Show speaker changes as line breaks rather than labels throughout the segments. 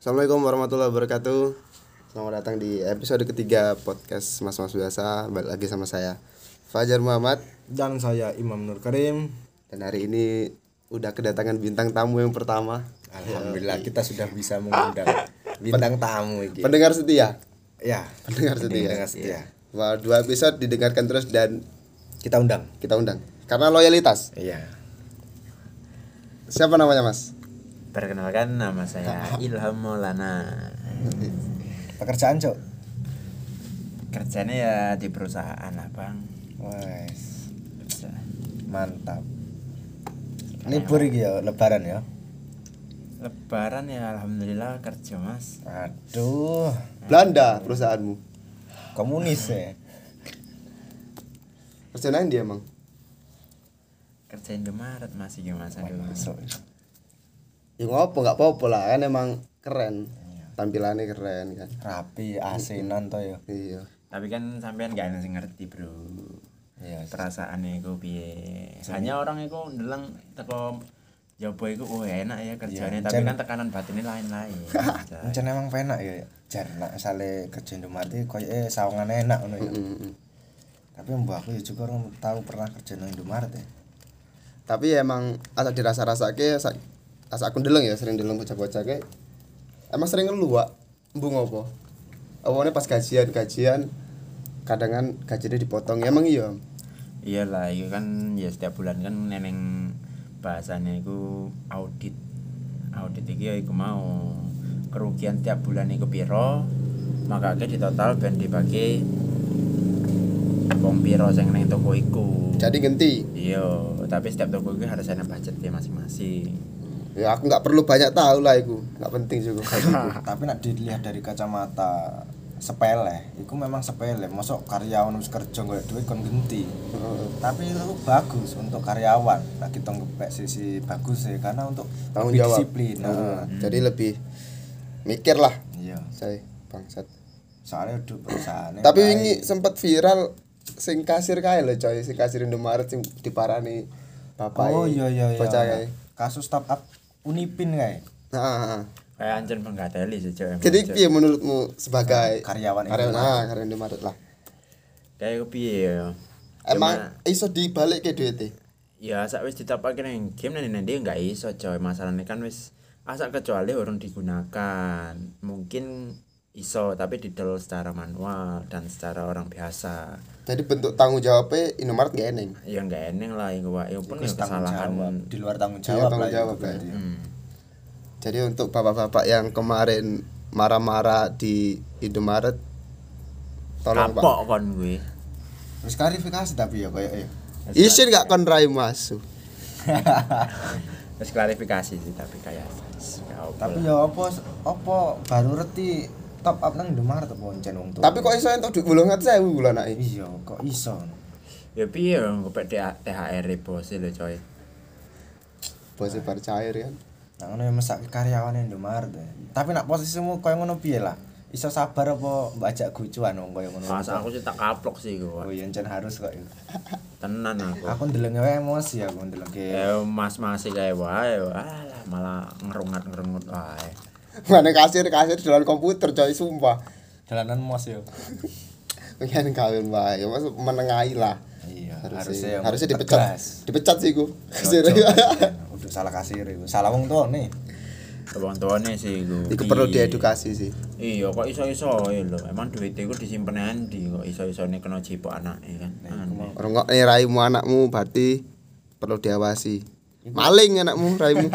Assalamualaikum warahmatullahi wabarakatuh. Selamat datang di episode ketiga podcast Mas Mas Biasa. Balik lagi sama saya Fajar Muhammad
dan saya Imam Nur Karim.
dan hari ini udah kedatangan bintang tamu yang pertama.
Alhamdulillah kita sudah bisa mengundang bintang tamu ini.
Pendengar setia.
Ya,
Pendengar setia.
pendengar setia.
Wah, dua episode didengarkan terus dan
Kita undang.
kita undang karena loyalitas.
Iya.
Siapa namanya Mas?
Perkenalkan nama saya Ilham Maulana.
Pekerjaan, Cok.
Kerjanya ya di perusahaan lah bang.
Wes,
Kerja.
mantap. Libur iki ya, lebaran ya.
Lebaran ya alhamdulillah kerja mas.
Aduh,
Belanda perusahaanmu.
komunis ya.
Kerjaan dia emang.
Kerja Indomaret masih gimana mas?
Masuk.
Ya ngopo nggak apa-apa lah kan emang keren. Tampilannya keren kan.
Rapi, asinan to ya.
Iya.
Tapi kan sampean gak ada yang ngerti bro.
Iya.
Perasaan iku piye? Hanya orang iku ndeleng teko Jopo iku oh enak ya kerjanya tapi kan tekanan batinnya lain-lain. Nah, Anjay.
Encen emang penak ya. Jar nek sale kerja Indomaret koyoke sawangan enak ngono ya. Tapi mbak aku ya juga orang tahu pernah kerja nang Indomaret ya.
tapi ya emang asa dirasa-rasa ke asa, asa aku ndeleng ya sering ndeleng bocah-bocah ke emang sering ngeluh wak mbung apa awalnya pas gajian gajian kadang kan gajinya dipotong ya emang iya
Iyalah, itu kan ya setiap bulan kan neneng bahasanya itu audit. Audit iki ya iku mau kerugian tiap bulan iku piro, maka di total ben dibagi wong piro sing neng toko iku.
jadi ganti
iya, tapi setiap toko iku harus ada budgetnya masing-masing.
ya aku nggak perlu banyak tahu lah itu nggak penting juga
tapi nak dilihat dari kacamata sepele itu memang sepele masuk karyawan harus kerja nggak duit kon genti tapi itu bagus untuk karyawan nah kita ngepek sisi bagus ya karena untuk
tanggung
lebih
jawab Hmm.
disiplin nah,
Heeh. jadi lebih mikir lah
iya
saya bangsat
Nah, soalnya udah perusahaan
tapi ini sempat viral sing kasir kae lho coy sing kasir Indomaret sing diparani bapak e,
oh iya iya iya
bocah kae
kasus startup Unipin kayak
Nah, ah, ah.
Kayak anjir penggateli sih cewek.
Jadi piye menurutmu sebagai
Karyawan
karyawan ah, karyawan Indomaret lah.
kayak iku piye ya.
Emang iso dibalik ke duit e?
Ya sak wis ditapake ning game nang nanti enggak iso coy. Masalahnya kan wis asak kecuali urung digunakan. Mungkin iso tapi didol secara manual dan secara orang biasa.
Jadi bentuk tanggung jawabnya Indomaret gak eneng.
Ya enggak eneng lah iku Pak. Iku pun ya
tanggung
kesalahan.
jawab di luar tanggung
Iya,
jawab
tanggung
lah itu
jawab, Hmm.
berarti. ya.
Jadi untuk bapak-bapak yang kemarin marah-marah di Indomaret tolong Pak.
Kapok kon gue.
terus klarifikasi tapi ya kayak eh.
Isin gak kon rai masuk.
ya.
Terus klarifikasi sih tapi kayak ya apa
tapi
lah.
ya apa apa baru reti top up nang Indomaret apa encen wong tuwa?
Tapi kok iso entuk duit bolongan saya bulan ae.
iya kok iso
Ya piye ya ngepek THR bos lho coy.
Bosnya bar cair kan.
nah ngono ya mesak karyawan Indomaret ya. tapi nak posisimu koyo ngono piye lah iso sabar apa mbak ajak gucuan wong koyo ngono
Pas aku sih tak kaplok sih gue.
oh
Pak.
iya encen harus kok itu.
Tenan aku.
aku ndelenge wae emosi
Iya.
aku ndelenge
Eh, mas masih kayak wae, alah malah ngerungat ngerungut wae.
Mana kasir kasir di dalam komputer coy sumpah.
jalanan mos ya. yo
Pengen kawin wae, ya masuk menengahi lah.
iya
Harusnya,
harusnya
harusnya dipecat.
tegas.
Dipecat sih gua. Kasir.
Ojo, kasihan. udah salah kasir itu salah wong tuwa nih
Wong tuane sih iku.
Iku perlu
Iya.
diedukasi sih.
Iya, kok iso-iso lho. Emang duit iku disimpen endi kok iso-isone kena jipok anake kan. Aneh.
Orang kok nih raimu anakmu berarti perlu diawasi. Maling anakmu raimu.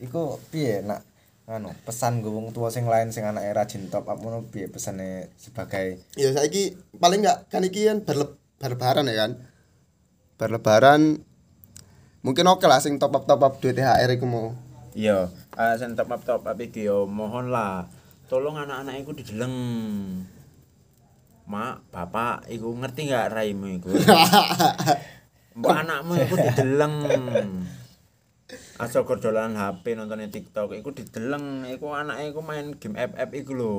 Iku piye nak anu pesan gue wong tua sing lain sing anake rajin top up ngono piye pesane sebagai
ya saiki paling enggak kan iki kan berle- berlebaran ya kan. Berlebaran mungkin oke lah sing top up top up duit THR iku mau.
Iya, eh sen top up top up iki yo mohon lah. Tolong anak-anak iku dideleng. Mak, bapak, iku ngerti nggak raimu iku? Mbak anakmu iku dideleng. Asal kerjolan HP nontonnya TikTok, iku dideleng, iku anak iku main game FF iku lho.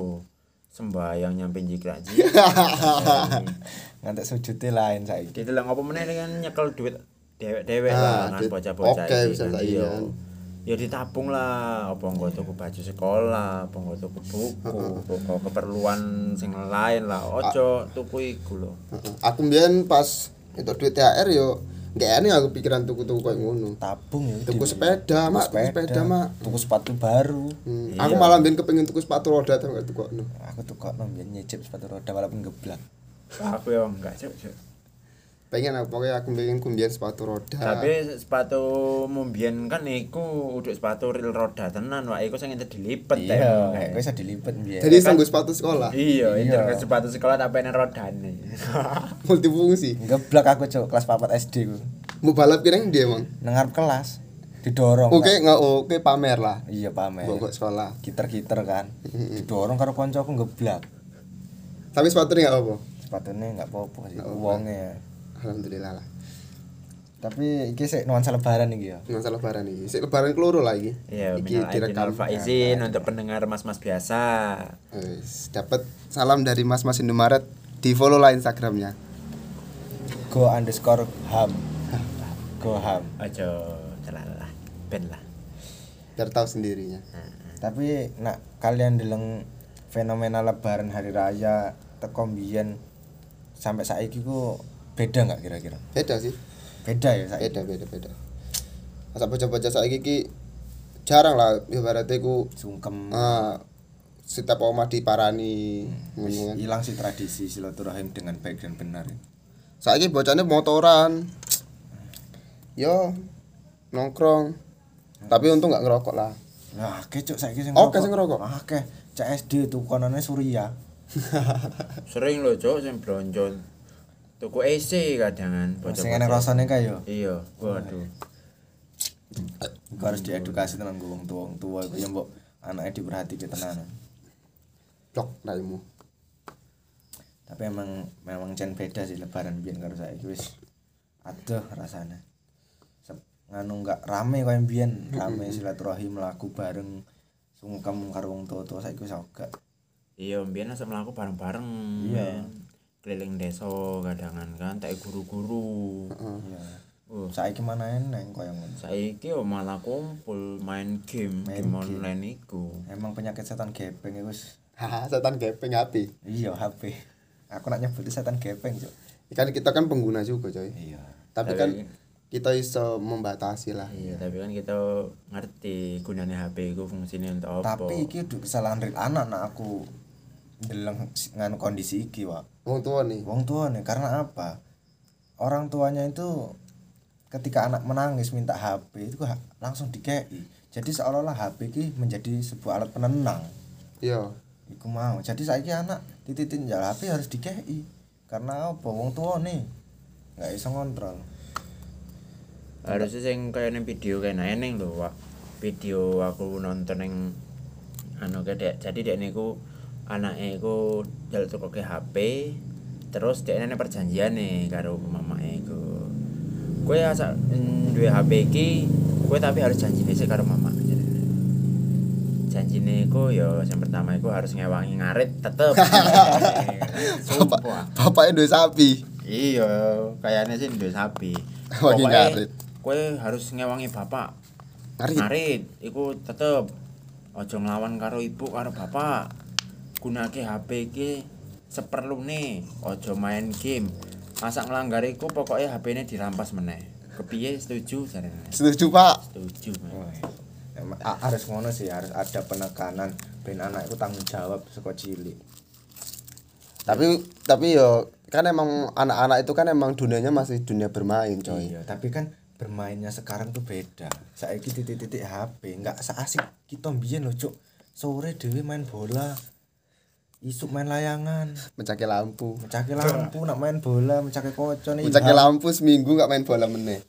Sembayang nyampe jikrak jikrak.
ngantek sujute lain saiki.
dideleng apa meneh kan nyekel duit dewek-dewek
Ah,
lah kan
duit poke
bocah-bocah iki
bisa
kan,
saiki
iya.
kan.
ya ditabung lah apa engko tuku baju sekolah apa engko tuku buku apa keperluan sing lain lah
Ah.
ojo tuku iku lho
Heeh. aku mbiyen pas entuk duit THR yo gak enak aku pikiran tuku-tuku koyo ngono
tabung ya
tuku
Dim.
sepeda mak tuku sepeda mak
tuku sepatu baru
Hmm, aku malah mbiyen kepengin tuku sepatu roda tapi gak tuku
aku tuh kok nombian nyicip sepatu roda walaupun geblak
aku ya enggak cuk cuk
pengen aku pokoknya aku pengen kumbian sepatu roda
tapi sepatu mumbian kan iku uduk sepatu real roda tenan wae iku sing ente dilipet
iya
ya.
kayak bisa dilipet biar
jadi sanggup sepatu sekolah
iya ente
Iya.
ke sepatu sekolah tapi ene rodane
multifungsi
geblak aku cuk kelas 4 SD ku
mau balap kirain dia emang
nengar kelas didorong
oke
kan.
nggak oke pamer lah
iya pamer
bawa ke sekolah
giter-giter kan didorong karo koncoku geblak
tapi sepatu nggak apa
sepatunya nggak apa-apa sih
Nggak apa-apa.
uangnya
alhamdulillah lah
tapi iki sik nuansa lebaran iki ya
nggak salah lebaran ini si lebaran keluru lagi
Iya,
iki
minal aidin wal
direkam
faizin untuk pendengar mas-mas biasa.
Wis, dapat salam dari mas mas Indomaret di follow lah instagramnya
go underscore ham go ham
Ojo terlalah, ben lah.
biar tahu sendirinya
tapi nak kalian deleng fenomena lebaran hari raya teko mbiyen sampai saiki ku beda nggak kira-kira
beda sih
beda ya saiki
beda beda beda masa bocah-bocah saiki ki jarang lah ibaratnya ku
sungkem
ah, setiap omah diparani
Wis,
ngono kan.
hilang sih tradisi silaturahim dengan baik dan benar ya.
saiki bocahnya motoran yo nongkrong tapi untung nggak ngerokok lah
Nah, akeh cuk saiki sing
Oke, sing ngerokok.
Akeh. CSD tuh konone Surya.
Sering lho, Cuk, sing blonjon. Tuku AC kadangan bocah-bocah.
Oh, Sing enak rasane kae yo.
Iya, waduh.
Iya.
Iku harus diedukasi tenan gue wong tua wong tua iku ya mbok anake diperhatike tenan.
blok raimu
Tapi emang memang cen beda sih lebaran biyen karo saiki wis aduh rasane. Sep, nganu enggak rame koyo biyen, rame silaturahim laku bareng sungkem karo wong tua-tua saiki wis ogak.
Iya, mbiyen asam mlaku bareng-bareng.
Iya.
men. Keliling desa kadangan kan, tak guru-guru.
Iya.
Uh,
Saiki mana eneng koyo ngono.
saiki yo malah kumpul main game,
Main
game
game.
online iku.
Emang penyakit setan gepeng iku wis
haha setan gepeng api
Iya HP. Aku nak nyebut setan gepeng, Cuk.
kan kita kan pengguna juga coy
Iya.
tapi
Tapi-
kan kita iso membatasi lah
Iya, tapi kan kita ngerti gunanya HP iku fungsinya untuk apa.
Tapi iki udah kesalahan real anak nak aku ndeleng si- ngan kondisi iki, Wak.
wong tua nih
Wong tua nih karena apa? Orang tuanya itu ketika anak menangis minta HP itu ha- langsung dikei. Jadi seolah-olah HP iki menjadi sebuah alat penenang.
yo
Iku mau. Jadi saiki anak tititin ya HP harus dikei. Karena apa? Wong tua nih nggak bisa ngontrol.
harusnya sing kaya ning video kaya nah eneng lho Wak. video aku nonton yang anu kayak dek jadi dek niku anaknya iku jaluk tuku ke HP terus dek ini perjanjian nih karo mamake iku kowe asa mm, duwe HP iki kowe tapi harus janji sih karo mama janjine iku ya yang pertama iku harus ngewangi ngarit tetep sumpah
bapak bapaknya duwe sapi
Iya, kayaknya sih duwe sapi.
Wangi
Pokoknya
ngarit.
Kowe harus ngewangi bapak.
Ngarit.
Ngarit iku tetep aja nglawan karo ibu karo bapak. Gunake HP iki seperlune, aja main game. Masak nglanggar iku pokoke HP-ne dirampas meneh. Kepiye setuju jarene?
setuju pak
Setuju. Mas.
Emang a- harus ngono sih harus ada penekanan ben anak itu tanggung jawab saka cilik
tapi tapi yo kan emang anak-anak itu kan emang dunianya masih dunia bermain coy
iya tapi kan bermainnya sekarang tuh beda saiki titik-titik HP nggak seasik kita mbiyen lho cuk sore dhewe main bola isuk main layangan
mencaki lampu
mencaki lampu nak main bola iya. mencaki kocok
Iya.
nih
mencaki lampu seminggu nggak main bola meneh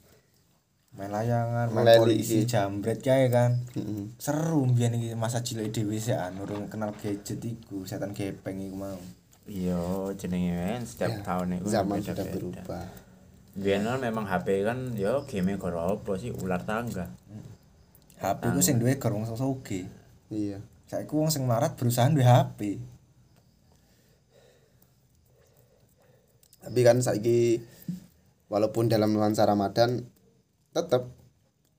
main layangan main
Meleli
polisi
iki.
jambret kae kan
Mm-mm.
seru mbiyen iki masa cilik dhewe sih nurung kenal gadget iku setan gepeng iku mau
Iya, jenenge kan setiap
Ya,
tahun iku
zaman
beda-beda.
sudah berubah
Biyen kan memang HP kan ya game gara apa sih ular tangga.
HP ku sing duwe gerung soge
iya
Saiki wong sing melarat berusaha duwe HP.
tapi kan saiki walaupun dalam nuansa Ramadan tetap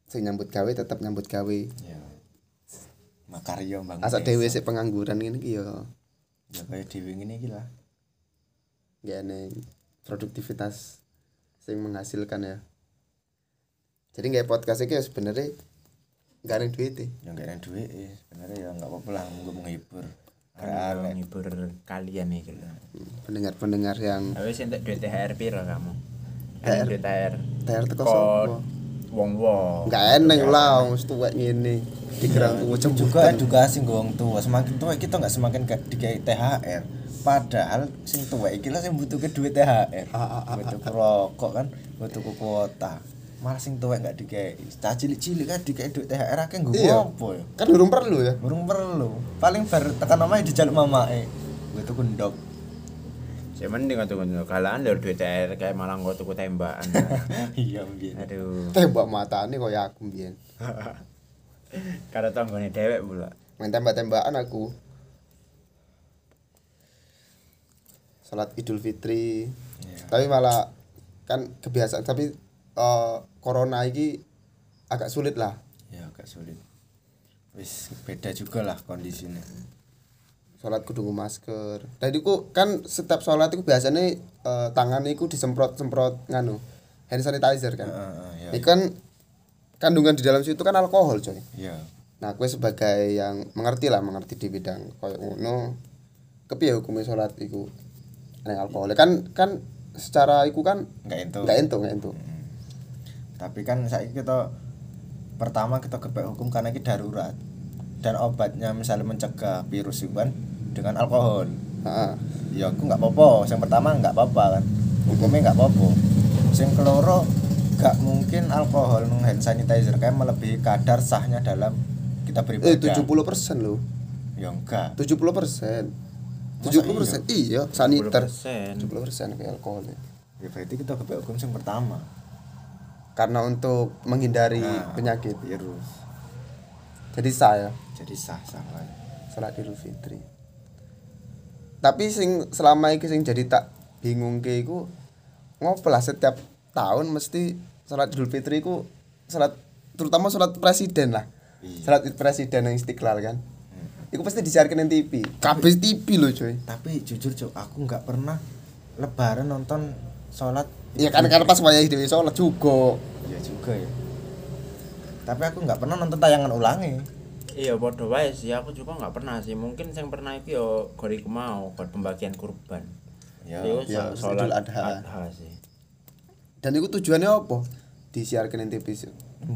sing nyambut gawe tetap nyambut gawe
ya makaryo bang
Iya. asal dhewe sik pengangguran ngene iki ya
ya kayak dewi ini gila
gak eneng produktivitas sing menghasilkan ya jadi nggak podcast iki ya sebenarnya nggak eneng duit e.
yang gak ada duit eh, sebenarnya ya nggak apa-apa lah monggo menghibur
Karena
Arek-arek.
menghibur Kan kalian nih gitu.
pendengar-pendengar yang
Tapi sih untuk duit THR piro kamu? Kan Ini Duit THR.
THR teko
Kok
sapa?
Wong-wong.
nggak eneng lah wong wis tuwek ngene dikira tuwa
juga ya.
jembutan
edukasi nggo wong tua semakin tua kita nggak semakin gak dikai THR padahal sing tua iki lah sing butuh ke duit THR butuh ke rokok kan butuh ke kuota malah sing tua nggak dikai cah cilik cilik kan dikai duit THR akeh nggo
Iya.
apa ya
kan durung perlu ya
burung perlu paling baru tekan omahe dijaluk mamake gue tuh kundok
Saya mending tuh kalaan lho duit THR kayak malah gua tuku tembakan.
iya mbiyen
Aduh.
tembak matane koyo aku mbiyen
Karo tanggane dewek pula.
main tembak-tembakan aku salat idul fitri tapi malah kan kebiasaan tapi eh, corona ini agak sulit lah
ya agak sulit wis beda juga lah kondisinya
sholat kudu nggo masker tadi ku kan setiap sholat itu biasanya eh, tangan itu disemprot semprot nganu hand sanitizer kan
Heeh, ya
ini kan kandungan di dalam situ kan alkohol coy
ya
Nah, gue sebagai yang mengerti lah, mengerti di bidang koyo ngono. Kepiye hukumnya sholat iku? Neng alkohol kan kan secara iku kan
nggak itu
enggak ento enggak ento.
tapi kan saya kita pertama kita gebek hukum karena ini darurat dan obatnya misalnya mencegah virus itu kan dengan alkohol
Heeh.
ya aku nggak apa-apa yang pertama nggak apa-apa kan hukumnya nggak apa-apa yang keloro nggak mungkin alkohol nung hand sanitizer kayak melebihi kadar sahnya dalam kita beribadah
Eh 70% loh.
ya enggak
70%. 70% iya, saniter.
10%.
70% kayak alkoholnya.
ya berarti kita gebek hukum yang pertama
Karena untuk menghindari
Nah,
penyakit.
virus
Jadi saya
jadi kan. sah sah lah
sholat Idul Fitri. Tapi sing selama iki sing jadi tak bingung ke iku ngopo lah setiap tahun mesti sholat Idul Fitri iku sholat terutama sholat presiden lah. Sholat Id presiden yang istiqlal kan. Iku pasti disiarkan di TV. Kabeh TV lho coy.
tapi jujur cok aku nggak pernah lebaran nonton sholat
Ya kan karena pas wayahe dhewe sholat juga.
Iya juga ya. Tapi aku nggak pernah nonton tayangan ulangi.
Iya podo wae sih aku juga nggak pernah sih. Mungkin yang pernah itu yo gori mau buat pembagian kurban.
Ya,
Iku
ya,
sa- sholat
Idul Adha.
adha sih.
Dan itu tujuannya apa? Disiarkan di TV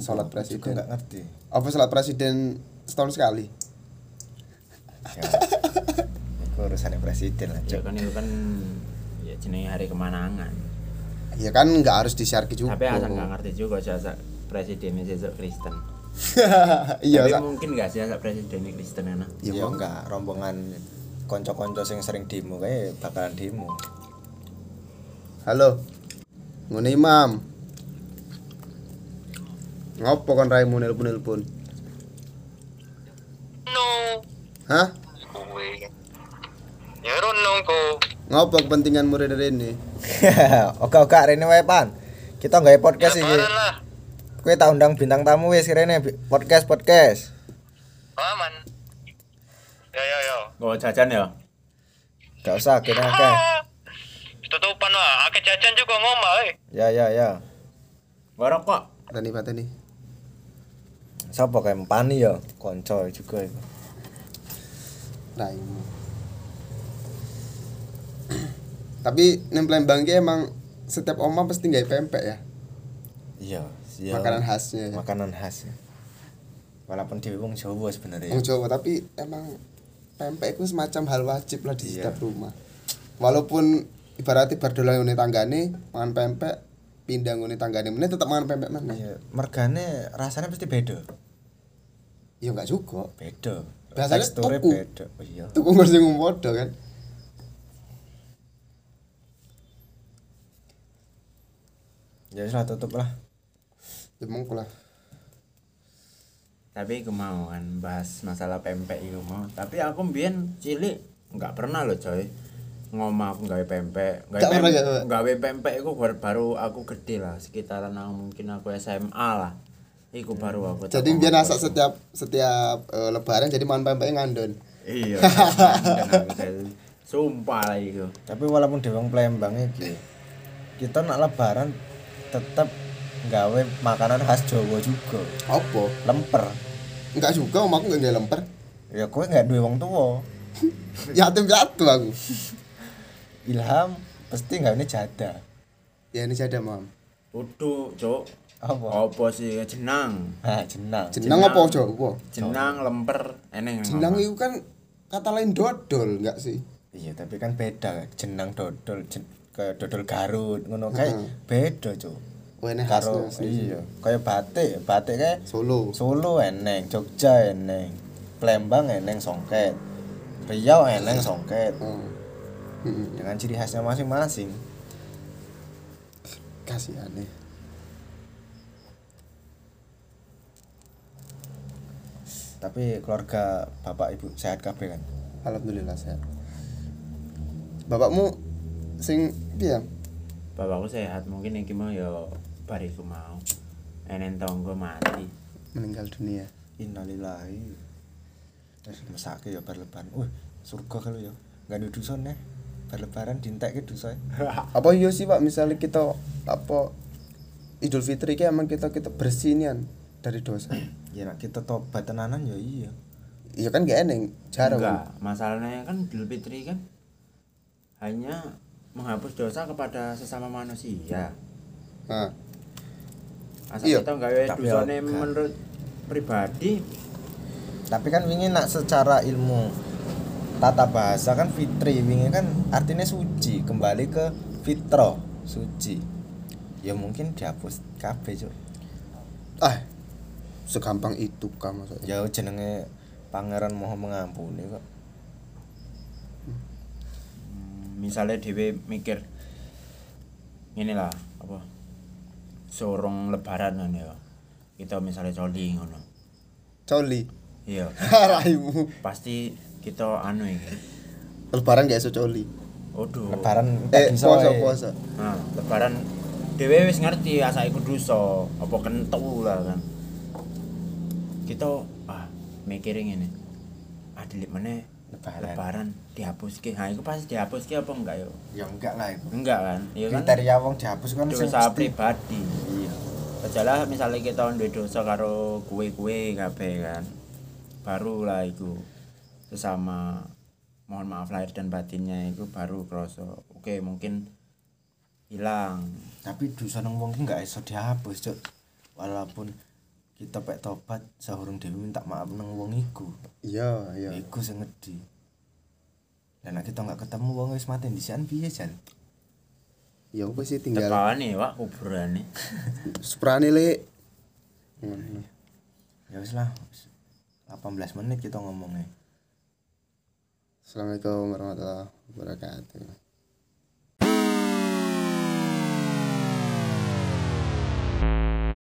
sholat
Aku
presiden.
nggak ngerti.
Apa sholat presiden setahun sekali?
Ya. Itu urusannya presiden lah.
Ya
Cok.
kan itu kan ya jenenge hari kemenangan.
Ya kan nggak harus disiarkan juga.
Tapi asal nggak ngerti juga jasa presiden sesuk Kristen.
Iya, Sa.
Tapi mungkin nggak sih jasa presiden Kristen enak.
Ya,
Ya
Bang.
enggak rombongan konco-konco sing sering demo kayak bakalan demo.
Halo. Ngene Imam. Ngopo kon raimu nelpon-nelpon?
No.
Hah?
Kuwe. Ya runung ku.
Ngopo kepentinganmu rene-rene?
oke oke rene wae pan. Kita nggak podcast iki.
Lebaran Ya lah.
Kue tak undang bintang tamu wis rene bi- podcast podcast.
Aman. Ya ya ya.
Gak jajan ya?
Gak usah kene akeh.
Ah. Tutupan lah. Ake jajan juga ngomah eh.
Ya ya ya.
Gak rokok.
Tani pateni.
Sopo kayak Pani ya? Konco juga itu.
Raimu. Tapi neng Palembang ki emang setiap oma pasti nggak pempek ya.
Iya, iya.
Makanan khasnya ya.
Makanan khas. ya. Walaupun di wong Jawa sebenarnya.
Wong Oh, Jawa tapi emang pempek itu semacam hal wajib lah di
Iya.
setiap rumah. Walaupun ibaratnya berdolan ngene tanggane, mangan pempek, pindah ngene tanggane, meneh tetap mangan pempek meneh.
Iya, mergane rasanya pasti beda.
Ya enggak juga.
Beda.
Biasanya
teksturnya
tuku.
beda. Oh, iya.
tuku kursi ngumpodo kan
Ya wis lah tutup lah.
demengku Ya lah
tapi aku mau kan bahas masalah pempek itu mau tapi aku mbien cilik nggak pernah loh coy ngomong aku gawe pempek
Nggak
gawe
pernah
pempek,
nggak?
gawe pempek itu baru, baru aku gede lah sekitaran aku- mungkin aku SMA lah Iku baru aku.
Hmm. Jadi biar nasak setiap setiap eh, lebaran jadi makan pempek ngandun.
Iya. kan, kan, Sumpah lah iku.
tapi walaupun di wong Palembang iki kita nak lebaran tetep nggawe makanan khas Jawa juga
Apa?
lemper
Enggak juga om aku enggak nggak lemper.
ya kowe nggak duwe wong tua
Yatim piatu aku.
Ilham pasti nggak ini jada
Ya ini ada mam.
Udu, cok.
Oh.
apa
Apa sih jenang?
ah jenang
Jenang apa cok? Apa?
Jenang lemper eneng.
Jenang
Mama.
itu kan kata lain dodol enggak sih?
iya tapi kan beda jenang dodol jen, kayak dodol Garut ngono kayak beda cuk
Wah ini
karo
khasnya sih.
iya kayak batik batik kayak
Solo.
Solo eneng, Jogja eneng, Palembang eneng songket, Riau eneng songket
Oh. Hmm. Mm-mm.
dengan ciri khasnya masing-masing.
Kasihan nih.
Tapi keluarga bapak ibu sehat kabeh kan?
Alhamdulillah sehat. Bapakmu sing dia
Bapakku sehat mungkin iki mau ya bariku mau. Enen tonggo mati.
meninggal dunia.
Innalillahi. Terus mesake ya bar lebaran. Wih, surga kalau ya. Enggak ada dusun ya. Bar lebaran dintekke dusa.
Apa iya sih pak misalnya kita apa Idul Fitri kayak emang kita kita bersih nian dari dosa.
Ya nak kita tobat tenanan ya iya.
Iya kan gak eneng jarang.
Enggak, masalahnya kan Idul Fitri kan hanya menghapus dosa kepada sesama manusia.
Nah,
Asal
Iya.
kita gawe
Tapi
dosane
ya, kan.
menurut pribadi
Tapi kan wingi nak secara ilmu tata bahasa kan fitri wingi kan artinya suci, kembali ke fitro, suci. Ya mungkin dihapus kabeh, Cuk.
ah segampang itu kah maksudnya.
Ya jenenge Pangeran Maha Mengampuni kok.
hmm, misalnya dhewe mikir ini lah apa sorong lebaran kan ya kita misalnya coli ngono
Coli.
iya
Raimu.
pasti kita anu iki
Lebaran gak esok coli.
Waduh.
Lebaran
Eh
tadi
puasa
sore.
puasa.
Nah, lebaran dhewe wis ngerti asa iku dosa, apa kentu lah kan. Kita ah mikir ngene. Adelik meneh
Lebaran.
lebaran dihapuske. Ha iku pasti dihapuske apa enggak yo?
Ya enggak lah itu.
Enggak kan? Ya kan
Kriteria wong dihapus kan sing
dosa
mesti.
pribadi.
Iya.
Kejalah misalnya kita duwe dosa karo kue-kue kabeh kan. Baru lah iku sesama mohon maaf lahir dan batinnya itu baru kroso oke mungkin hilang
Tapi dosa nang wong ki enggak iso dihapus, Cuk. Walaupun kita pek tobat sahurung dewi minta maaf nang wong iku.
Iya iya.
Iku sing ngedi. Dan nek kita nggak ketemu wong wis mati ndisian piye jan?
Ya apa sih tinggal
tekawan nih wak kuburan nih
Suprane le. Ngono.
Ya wis lah. wis 18 menit kita ngomongnya.
Assalamualaikum warahmatullahi wabarakatuh.